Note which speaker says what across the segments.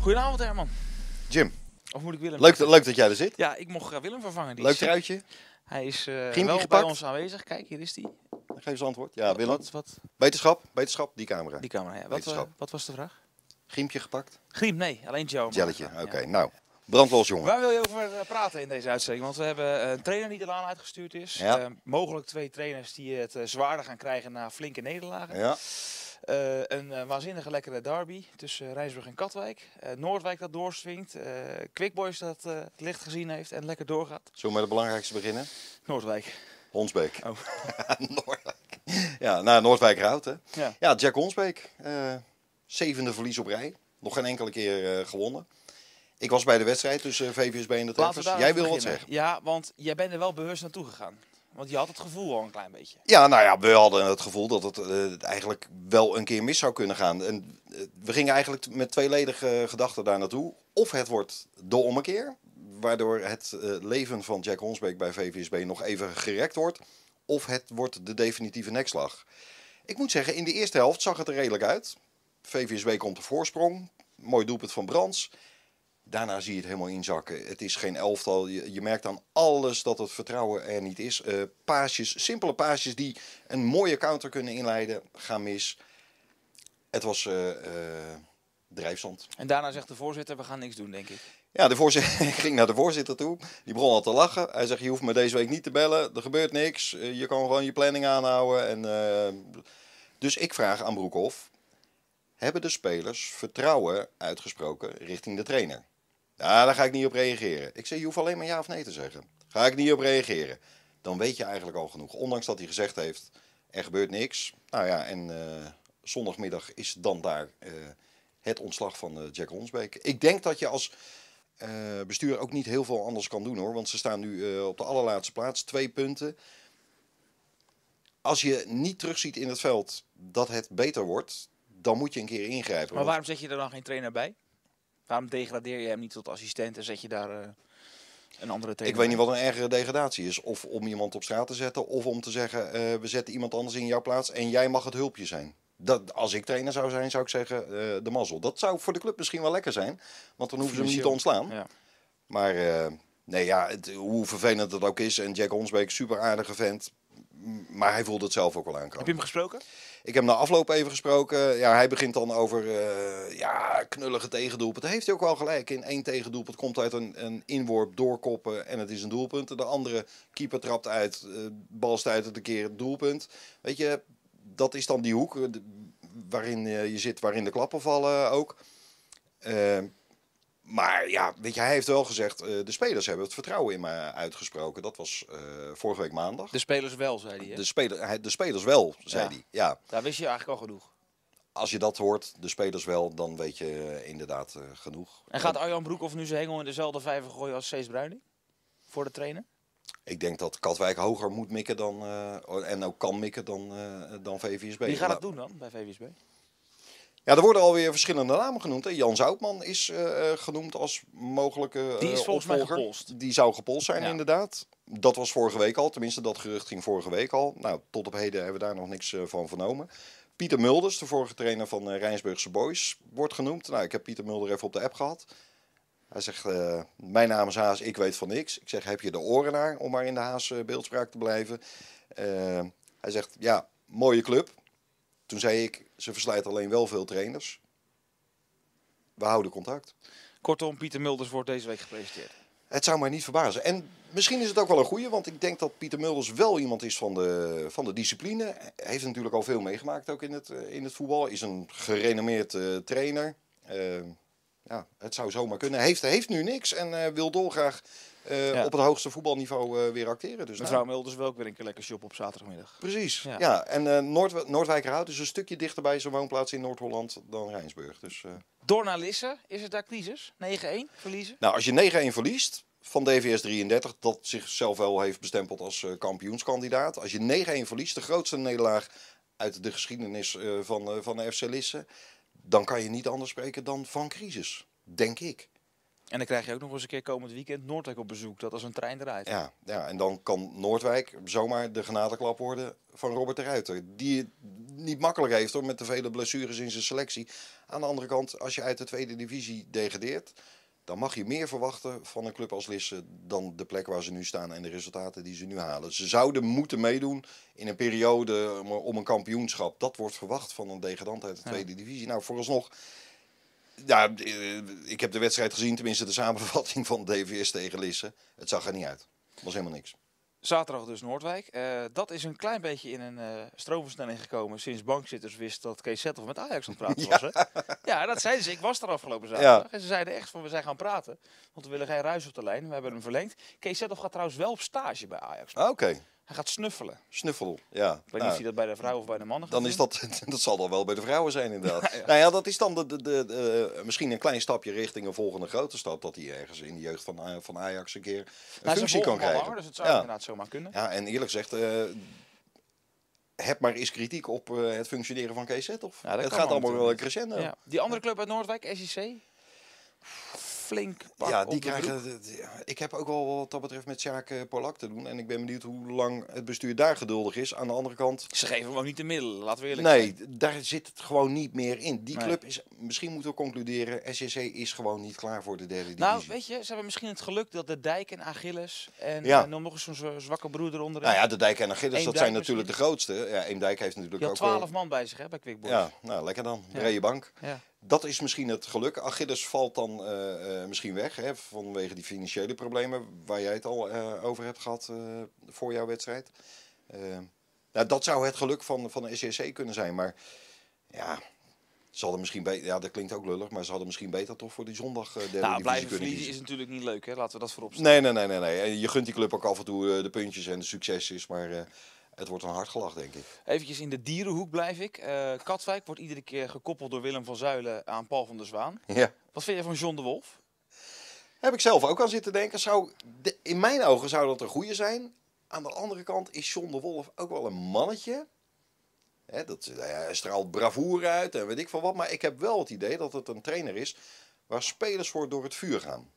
Speaker 1: Goedenavond Herman.
Speaker 2: Jim,
Speaker 1: Of moet ik Willem?
Speaker 2: leuk, dat- leuk dat jij er zit.
Speaker 1: Ja, ik mocht eh, Willem vervangen. Die
Speaker 2: Leuk
Speaker 1: is ziek.
Speaker 2: truitje.
Speaker 1: Hij is eh
Speaker 2: die
Speaker 1: wel bij
Speaker 2: gepakt?
Speaker 1: ons aanwezig. Kijk, hier is die.
Speaker 2: Geef eens antwoord. Ja, Willem.
Speaker 1: Wat, wat,
Speaker 2: Wetenschap, wetenschap, die camera.
Speaker 1: die camera, ja. Wat, eh,
Speaker 2: Wetenschap.
Speaker 1: wat was de vraag?
Speaker 2: Griempje gepakt.
Speaker 1: Griem, nee. Alleen Joe.
Speaker 2: Jelletje. Oké,
Speaker 1: Ja.
Speaker 2: nou. Brandlos, jongen.
Speaker 1: Waar wil je over eh, praten in deze uitzending? Want we hebben eh, een trainer die de laan uitgestuurd is.
Speaker 2: Ja.
Speaker 1: Eh, mogelijk twee trainers die het eh, zwaarder gaan krijgen na flinke nederlagen.
Speaker 2: Ja,
Speaker 1: Eh, een eh, waanzinnige lekkere derby tussen Rijnsburg en Katwijk. Eh, Noordwijk dat doorswingt. eh Quickboys dat eh, het licht gezien heeft en lekker doorgaat.
Speaker 2: zullen we met het belangrijkste beginnen?
Speaker 1: Noordwijk.
Speaker 2: Honsbeek.
Speaker 1: Oh.
Speaker 2: Noordwijk. Ja, nou, Noordwijk Rout, hè.
Speaker 1: Ja.
Speaker 2: Ja, Jack Honsbeek. eh, zevende verlies op rij. Nog geen enkele keer eh, gewonnen. Ik was bij de wedstrijd tussen eh, VVSB en de
Speaker 1: Laten
Speaker 2: Treffers.
Speaker 1: we daar
Speaker 2: Jij
Speaker 1: even
Speaker 2: wil wat
Speaker 1: beginnen.
Speaker 2: zeggen.
Speaker 1: Ja, want jij bent er wel bewust naartoe gegaan. Want je had het gevoel al een klein beetje.
Speaker 2: Ja, nou ja, we hadden het gevoel dat het eh, eigenlijk wel een keer mis zou kunnen gaan. En eh, we gingen eigenlijk met tweeledige eh, gedachten daar naartoe. Of het wordt de ommekeer, waardoor het eh, leven van Jack Honsbeek bij VVSB nog even gerekt wordt. Of het wordt de definitieve nekslag. Ik moet zeggen, in de eerste helft zag het er redelijk uit. VVSB komt de voorsprong. Mooi doelpunt van Brands. Daarna zie je het helemaal inzakken. Het is geen elftal. Je, je merkt aan alles dat het vertrouwen er niet is. Eh paasjes, simpele paasjes die een mooie counter kunnen inleiden, gaan mis. Het was eh, eh, drijfzand.
Speaker 1: En daarna zegt de voorzitter, we gaan niks doen, denk ik.
Speaker 2: Ja, de voorzitter, ik ging naar de voorzitter toe. Die begon al te lachen. Hij zegt, je hoeft me deze week niet te bellen. Er gebeurt niks. Eh, Je kan gewoon je planning aanhouden. En, eh, Dus ik vraag aan Broekhoff. Hebben de spelers vertrouwen uitgesproken richting de trainer? Ja, daar ga ik niet op reageren. Ik zeg, je hoeft alleen maar ja of nee te zeggen. Ga ik niet op reageren. Dan weet je eigenlijk al genoeg. Ondanks dat hij gezegd heeft, er gebeurt niks. Nou ja, en eh, zondagmiddag is dan daar eh, het ontslag van eh, Jack Ronsbeek. Ik denk dat je als eh, bestuur ook niet heel veel anders kan doen hoor. Want ze staan nu eh, op de allerlaatste plaats, twee punten. Als je niet terugziet in het veld dat het beter wordt, dan moet je een keer ingrijpen.
Speaker 1: Maar
Speaker 2: Want-
Speaker 1: waarom zet je er dan geen trainer bij? Waarom degradeer je hem niet tot assistent en zet je daar eh, een andere trainer
Speaker 2: Ik weet niet wat een ergere degradatie is. Of om iemand op straat te zetten, of om te zeggen: eh, we zetten iemand anders in jouw plaats en jij mag het hulpje zijn. Dat, als ik trainer zou zijn, zou ik zeggen: eh, de mazzel. Dat zou voor de club misschien wel lekker zijn, want dan hoeven ze hem niet te
Speaker 1: Financieel.
Speaker 2: ontslaan.
Speaker 1: Ja.
Speaker 2: Maar eh, nee, ja, het- hoe vervelend het ook is. En Jack Honsbeek, super aardige vent. m- Maar hij voelde het zelf ook wel
Speaker 1: Heb
Speaker 2: aankomen.
Speaker 1: je hem gesproken?
Speaker 2: Ik heb na afloop even gesproken. Ja, hij begint dan over eh, ja, knullige tegendoelpunten. Daar heeft hij ook wel gelijk. In één tegendoelpunt komt uit een, een inworp, doorkoppen en het is een doelpunt. De andere keeper trapt uit, eh, bal stuit het een keer, het doelpunt. Weet je, dat is dan die hoek eh, de- waarin eh, je zit, waarin de klappen vallen ook. Eh, maar ja, weet je, hij heeft wel gezegd, eh, de spelers hebben het vertrouwen in mij uitgesproken. Dat was eh, vorige week maandag.
Speaker 1: De spelers wel, zei hij. hè?
Speaker 2: De, speler, hij- de spelers wel, zei
Speaker 1: Ja.
Speaker 2: hij. Ja
Speaker 1: Daar wist je eigenlijk al genoeg.
Speaker 2: als je dat hoort, de spelers wel, dan weet je eh, inderdaad eh, genoeg.
Speaker 1: En gaat Arjan Broekhoff nu zijn hengel in dezelfde vijver gooien als Cees Bruining? Voor de trainer?
Speaker 2: Ik denk dat Katwijk hoger moet mikken dan, eh, en ook kan mikken dan, eh, dan VVSB.
Speaker 1: Wie gaat
Speaker 2: Nou,
Speaker 1: dat doen dan bij VWSB?
Speaker 2: Ja, er worden alweer verschillende namen genoemd. Hè. Jan Zoutman is eh, eh, genoemd als mogelijke eh,
Speaker 1: Die is volgens mij
Speaker 2: opvolger.
Speaker 1: gepolst.
Speaker 2: Die zou gepolst zijn,
Speaker 1: Ja.
Speaker 2: inderdaad. Dat was vorige week al. Tenminste, dat gerucht ging vorige week al. Nou, tot op heden hebben we daar nog niks eh, van vernomen. Pieter Mulders, de vorige trainer van eh Rijnsburgse Boys, wordt genoemd. Nou, ik heb Pieter Mulder even op de app gehad. Hij zegt, eh, mijn naam is Haas, ik weet van niks. Ik zeg, heb je de oren naar, om maar in de Haas eh, beeldspraak te blijven. Eh, hij zegt, ja, mooie club. Toen zei ik, ze verslijt alleen wel veel trainers. We houden contact.
Speaker 1: Kortom, Pieter Mulders wordt deze week gepresenteerd.
Speaker 2: Het zou mij niet verbazen. En misschien is het ook wel een goeie, want ik denk dat Pieter Mulders wel iemand is van de, van de discipline. Hij heeft natuurlijk al veel meegemaakt ook in het, eh, in het voetbal. Is een gerenommeerd eh, trainer. Eh, ja, het zou zomaar kunnen. Heeft, heeft nu niks en eh, wil dolgraag eh,
Speaker 1: Ja.
Speaker 2: op het hoogste voetbalniveau eh, weer acteren. Dus nou,
Speaker 1: Mevrouw Mulders wil ook weer een keer lekker shop op zaterdagmiddag.
Speaker 2: precies.
Speaker 1: Ja.
Speaker 2: Ja. en eh Noord, Noordwijkerhout is een stukje dichter bij zijn woonplaats in Noord-Holland dan Rijnsburg. Dus, eh,
Speaker 1: Door naar Lisse. Is het daar crisis? 9-1 verliezen?
Speaker 2: Nou, als je 9-1 verliest van DVS 33, dat zichzelf wel heeft bestempeld als eh, kampioenskandidaat. Als je 9-1 verliest, de grootste nederlaag uit de geschiedenis eh, van, eh, van de FC Lisse, dan kan je niet anders spreken dan van crisis, denk ik.
Speaker 1: En dan krijg je ook nog eens een keer komend weekend Noordwijk op bezoek. Dat als een trein eruit.
Speaker 2: Ja, ja, en dan kan Noordwijk zomaar de genadeklap worden van Robert de Ruiter. Die het niet makkelijk heeft hoor, met de vele blessures in zijn selectie. Aan de andere kant, als je uit de tweede divisie degradeert... dan mag je meer verwachten van een club als Lisse dan de plek waar ze nu staan... en de resultaten die ze nu halen. Ze zouden moeten meedoen in een periode om- om een kampioenschap. Dat wordt verwacht van een degradant uit de
Speaker 1: Ja.
Speaker 2: tweede divisie. Nou, vooralsnog... Ja, eh, ik heb de wedstrijd gezien, tenminste de samenvatting van DVS tegen Lisse. Het zag er niet uit. was helemaal niks.
Speaker 1: Zaterdag dus Noordwijk. Eh, dat is een klein beetje in een eh, stroomversnelling gekomen sinds bankzitters wisten dat Kees Zettel met Ajax aan het praten was. Hè? Ja, dat zeiden ze. Ik was er afgelopen zaterdag. En ze zeiden echt van we zijn gaan praten, want we willen geen ruis op de lijn. We hebben hem verlengd. Kees Zettel gaat trouwens wel op stage bij Ajax.
Speaker 2: Ah, Oké,
Speaker 1: Hij gaat snuffelen. Ik
Speaker 2: snuffel. Ja.
Speaker 1: weet niet
Speaker 2: Nou,
Speaker 1: of hij dat bij de vrouwen of bij de mannen gaat
Speaker 2: dan is
Speaker 1: doen.
Speaker 2: dat, dat zal dan wel bij de vrouwen zijn inderdaad. Nou ja, dat is dan de, de, de, eh, misschien een klein stapje richting een volgende grote stap. Dat hij ergens in de jeugd van, eh, van Ajax een keer een
Speaker 1: Nou, ze
Speaker 2: functie kan
Speaker 1: volgen hem al
Speaker 2: krijgen.
Speaker 1: langer, dus het zou
Speaker 2: ja.
Speaker 1: inderdaad zomaar kunnen.
Speaker 2: ja, en eerlijk gezegd, eh, heb maar eens kritiek op eh, het functioneren van KZ. Of?
Speaker 1: Ja, dat
Speaker 2: het
Speaker 1: kan
Speaker 2: gaat
Speaker 1: wel
Speaker 2: allemaal wel
Speaker 1: natuurlijk.
Speaker 2: crescendo.
Speaker 1: Ja. Die andere club uit Noordwijk, SEC. Flink pak
Speaker 2: Ja,
Speaker 1: op
Speaker 2: die
Speaker 1: de broek.
Speaker 2: krijgen. d- d- ja, Ik heb ook wel wat dat betreft met Sjaak eh, Polak te doen. En ik ben benieuwd hoe lang het bestuur daar geduldig is. Aan de andere kant.
Speaker 1: Ze geven hem ook niet de middelen, laten we eerlijk
Speaker 2: Nee, d- daar zit het gewoon niet meer in. Die
Speaker 1: Nee.
Speaker 2: club is. Misschien moeten we concluderen. SCC is gewoon niet klaar voor de derde divisie.
Speaker 1: Nou, weet je, ze hebben misschien het geluk dat de Dijk en Achilles en,
Speaker 2: Ja.
Speaker 1: en dan nog eens zo'n z- zwakke broeder onderin.
Speaker 2: nou ja, de Dijk en Achilles, dat
Speaker 1: Eemdijk
Speaker 2: zijn natuurlijk
Speaker 1: misschien.
Speaker 2: de grootste. Ja, Eemdijk heeft natuurlijk
Speaker 1: Je had
Speaker 2: ook wel-
Speaker 1: twaalf man bij zich hè, bij Quick Boys.
Speaker 2: Ja, nou lekker dan. Brede bank.
Speaker 1: Ja.
Speaker 2: Dat is misschien het geluk. Achilles valt dan eh, eh, misschien weg hè, vanwege die financiële problemen waar jij het al eh, over hebt gehad eh, voor jouw wedstrijd. Eh, nou, dat zou het geluk van, van de SCC kunnen zijn. Maar ja, ze hadden misschien beter, ja, dat klinkt ook lullig, maar ze hadden misschien beter toch voor die zondag eh derde
Speaker 1: Nou,
Speaker 2: divisie
Speaker 1: blijven
Speaker 2: kunnen
Speaker 1: verliezen
Speaker 2: kiezen.
Speaker 1: is natuurlijk niet leuk, hè? laten we dat voorop stellen.
Speaker 2: Nee, nee, nee, nee, nee. En Je gunt die club ook af en toe eh, de puntjes en de succesjes, maar eh, het wordt een hard gelach, denk ik.
Speaker 1: Eventjes in de dierenhoek blijf ik. Eh, Katwijk wordt iedere keer gekoppeld door Willem van Zuilen aan Paul van der Zwaan.
Speaker 2: Ja.
Speaker 1: Wat vind je van John de Wolf?
Speaker 2: Heb ik zelf ook aan zitten denken. Zou de- in mijn ogen zou dat een goede zijn. Aan de andere kant is John de Wolf ook wel een mannetje. Hè, dat, eh, hij straalt bravoure uit en weet ik van wat. Maar ik heb wel het idee dat het een trainer is waar spelers voor door het vuur gaan. En-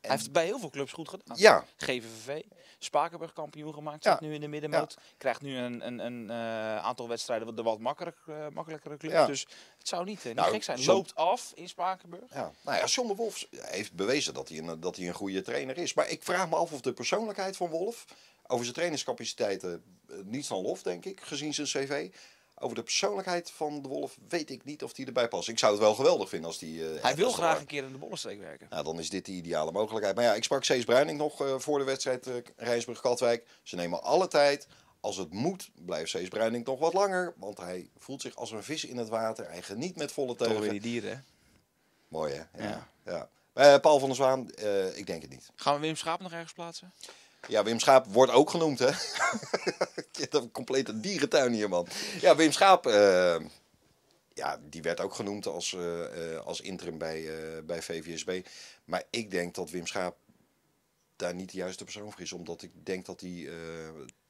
Speaker 1: Hij heeft het bij heel veel clubs goed gedaan.
Speaker 2: Ja,
Speaker 1: GVVV, Spakenburg kampioen gemaakt,
Speaker 2: Ja.
Speaker 1: zit nu in de middenmoot. Krijgt nu een, een, een eh, aantal wedstrijden wat de wat makkelijk, eh, makkelijkere clubs.
Speaker 2: Ja.
Speaker 1: Dus het zou niet, eh, niet
Speaker 2: Nou,
Speaker 1: gek zijn.
Speaker 2: John-
Speaker 1: Loopt af in Spakenburg.
Speaker 2: ja. Nou ja, John de Wolf heeft bewezen dat hij, een, dat hij een goede trainer is. Maar ik vraag me af of de persoonlijkheid van Wolf... over zijn trainingscapaciteiten eh, niets dan lof, denk ik, gezien zijn cv... Over de persoonlijkheid van de Wolf weet ik niet of die erbij past. Ik zou het wel geweldig vinden als die. eh,
Speaker 1: Hij wil
Speaker 2: als er-
Speaker 1: graag een keer in de bollenstreek werken.
Speaker 2: Nou, dan is dit de ideale mogelijkheid. Maar ja, ik sprak Cees Bruining nog eh, voor de wedstrijd eh Rijsburg-Katwijk. Ze nemen alle tijd. Als het moet, blijft Cees Bruining nog wat langer. Want hij voelt zich als een vis in het water. Hij geniet met volle
Speaker 1: Toch
Speaker 2: teugen.
Speaker 1: weer die dieren. hè?
Speaker 2: Mooi hè? Ja.
Speaker 1: Ja.
Speaker 2: ja. Eh, Paul van der Zwaan, eh, ik denk het niet.
Speaker 1: Gaan we Willem Schaap nog ergens plaatsen?
Speaker 2: Ja, Wim Schaap wordt ook genoemd hè. Je hebt een complete dierentuin hier man. Ja, Wim Schaap, eh, ja, die werd ook genoemd als, eh, eh, als interim bij, eh, bij VVSB. Maar ik denk dat Wim Schaap daar niet de juiste persoon voor is. Omdat ik denk dat hij eh,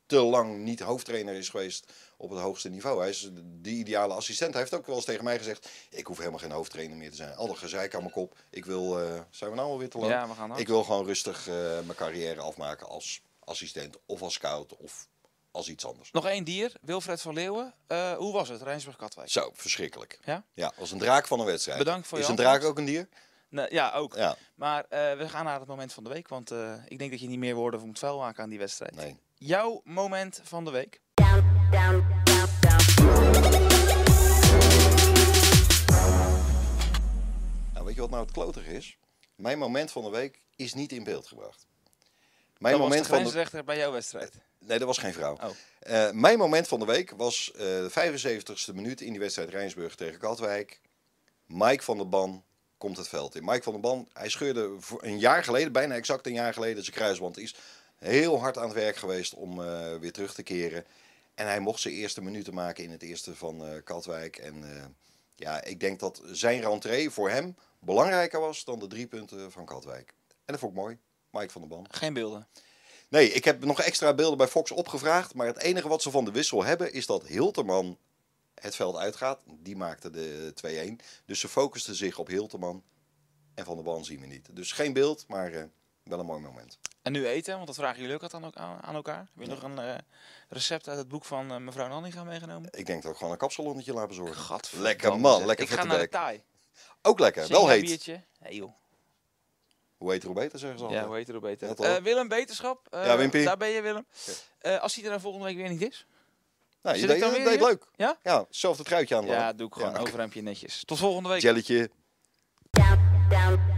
Speaker 2: te lang niet hoofdtrainer is geweest op het hoogste niveau. Hij is de ideale assistent. Hij heeft ook wel eens tegen mij gezegd... ik hoef helemaal geen hoofdtrainer meer te zijn. Al dat gezeik aan mijn kop. Ik wil... eh, zijn we nou alweer te lang?
Speaker 1: Ja, we gaan hard.
Speaker 2: Ik wil gewoon rustig eh, mijn carrière afmaken als assistent of als scout of als iets anders.
Speaker 1: Nog één dier, Wilfred van Leeuwen. Eh, hoe was het, Rijnsburg-Katwijk?
Speaker 2: Zo, verschrikkelijk.
Speaker 1: Ja?
Speaker 2: Ja, als een draak van een wedstrijd.
Speaker 1: Bedankt voor je
Speaker 2: Is een
Speaker 1: antwoord.
Speaker 2: draak ook een dier?
Speaker 1: Nou, ja, ook.
Speaker 2: Ja,
Speaker 1: Maar eh, we gaan naar het moment van de week, want eh, ik denk dat je niet meer woorden moet vuil maken aan die wedstrijd.
Speaker 2: nee.
Speaker 1: Jouw moment van de week?
Speaker 3: down, down, down, down.
Speaker 2: Nou, weet je wat nou het klotige is? Mijn moment van de week is niet in beeld gebracht. Mijn
Speaker 1: Dat
Speaker 2: moment
Speaker 1: was de
Speaker 2: van de...
Speaker 1: grensrechter bij jouw wedstrijd.
Speaker 2: Nee, dat was geen vrouw.
Speaker 1: Oh.
Speaker 2: Eh, mijn moment van de week was eh, de 75ste minuut in die wedstrijd Rijnsburg tegen Katwijk. Mike van der Ban komt het veld in. Mike van der Ban, hij scheurde voor een jaar geleden, bijna exact een jaar geleden, zijn kruisband is heel hard aan het werk geweest om eh, weer terug te keren. En hij mocht zijn eerste minuten maken in het eerste van eh, Katwijk. En eh, ja, ik denk dat zijn rentree voor hem belangrijker was dan de drie punten van Katwijk. En dat vond ik mooi. Mike van der Ban.
Speaker 1: Geen beelden.
Speaker 2: Nee, ik heb nog extra beelden bij Fox opgevraagd. Maar het enige wat ze van de wissel hebben is dat Hilterman het veld uitgaat. Die maakte de 2-1. Dus ze focusten zich op Hilterman. En Van der Ban zien we niet. Dus geen beeld, maar eh, wel een mooi moment.
Speaker 1: En nu eten, want dat vragen jullie ook altijd aan, aan, aan elkaar. Heb je nog een eh, recept uit het boek van eh, mevrouw Nanninga meegenomen?
Speaker 2: Ik denk dat ik gewoon een kapsalonnetje laat bezorgen.
Speaker 1: Gadverdamme,
Speaker 2: Lekker man,
Speaker 1: zeg.
Speaker 2: lekker
Speaker 1: Ik ga naar de
Speaker 2: vertebek.
Speaker 1: Thai.
Speaker 2: Ook lekker, wel
Speaker 1: Zing een
Speaker 2: heet.
Speaker 1: biertje. Nee joh.
Speaker 2: Hoe heet hoe beter, zeggen ze altijd.
Speaker 1: Ja, hoe heet het ook beter.
Speaker 2: Ja, toch?
Speaker 1: Eh, Willem, beterschap. Eh,
Speaker 2: Ja, Wimpy.
Speaker 1: Daar ben je, Willem. Eh, als hij er dan volgende week weer niet is.
Speaker 2: nou, je
Speaker 1: Zit ik
Speaker 2: deed,
Speaker 1: dan
Speaker 2: je
Speaker 1: weer
Speaker 2: deed
Speaker 1: hier?
Speaker 2: leuk.
Speaker 1: Ja?
Speaker 2: Ja, hetzelfde truitje aan.
Speaker 1: Ja, doe ik gewoon
Speaker 2: Ja.
Speaker 1: overhemdje netjes. Tot volgende week.
Speaker 2: Jelletje.
Speaker 3: down, down,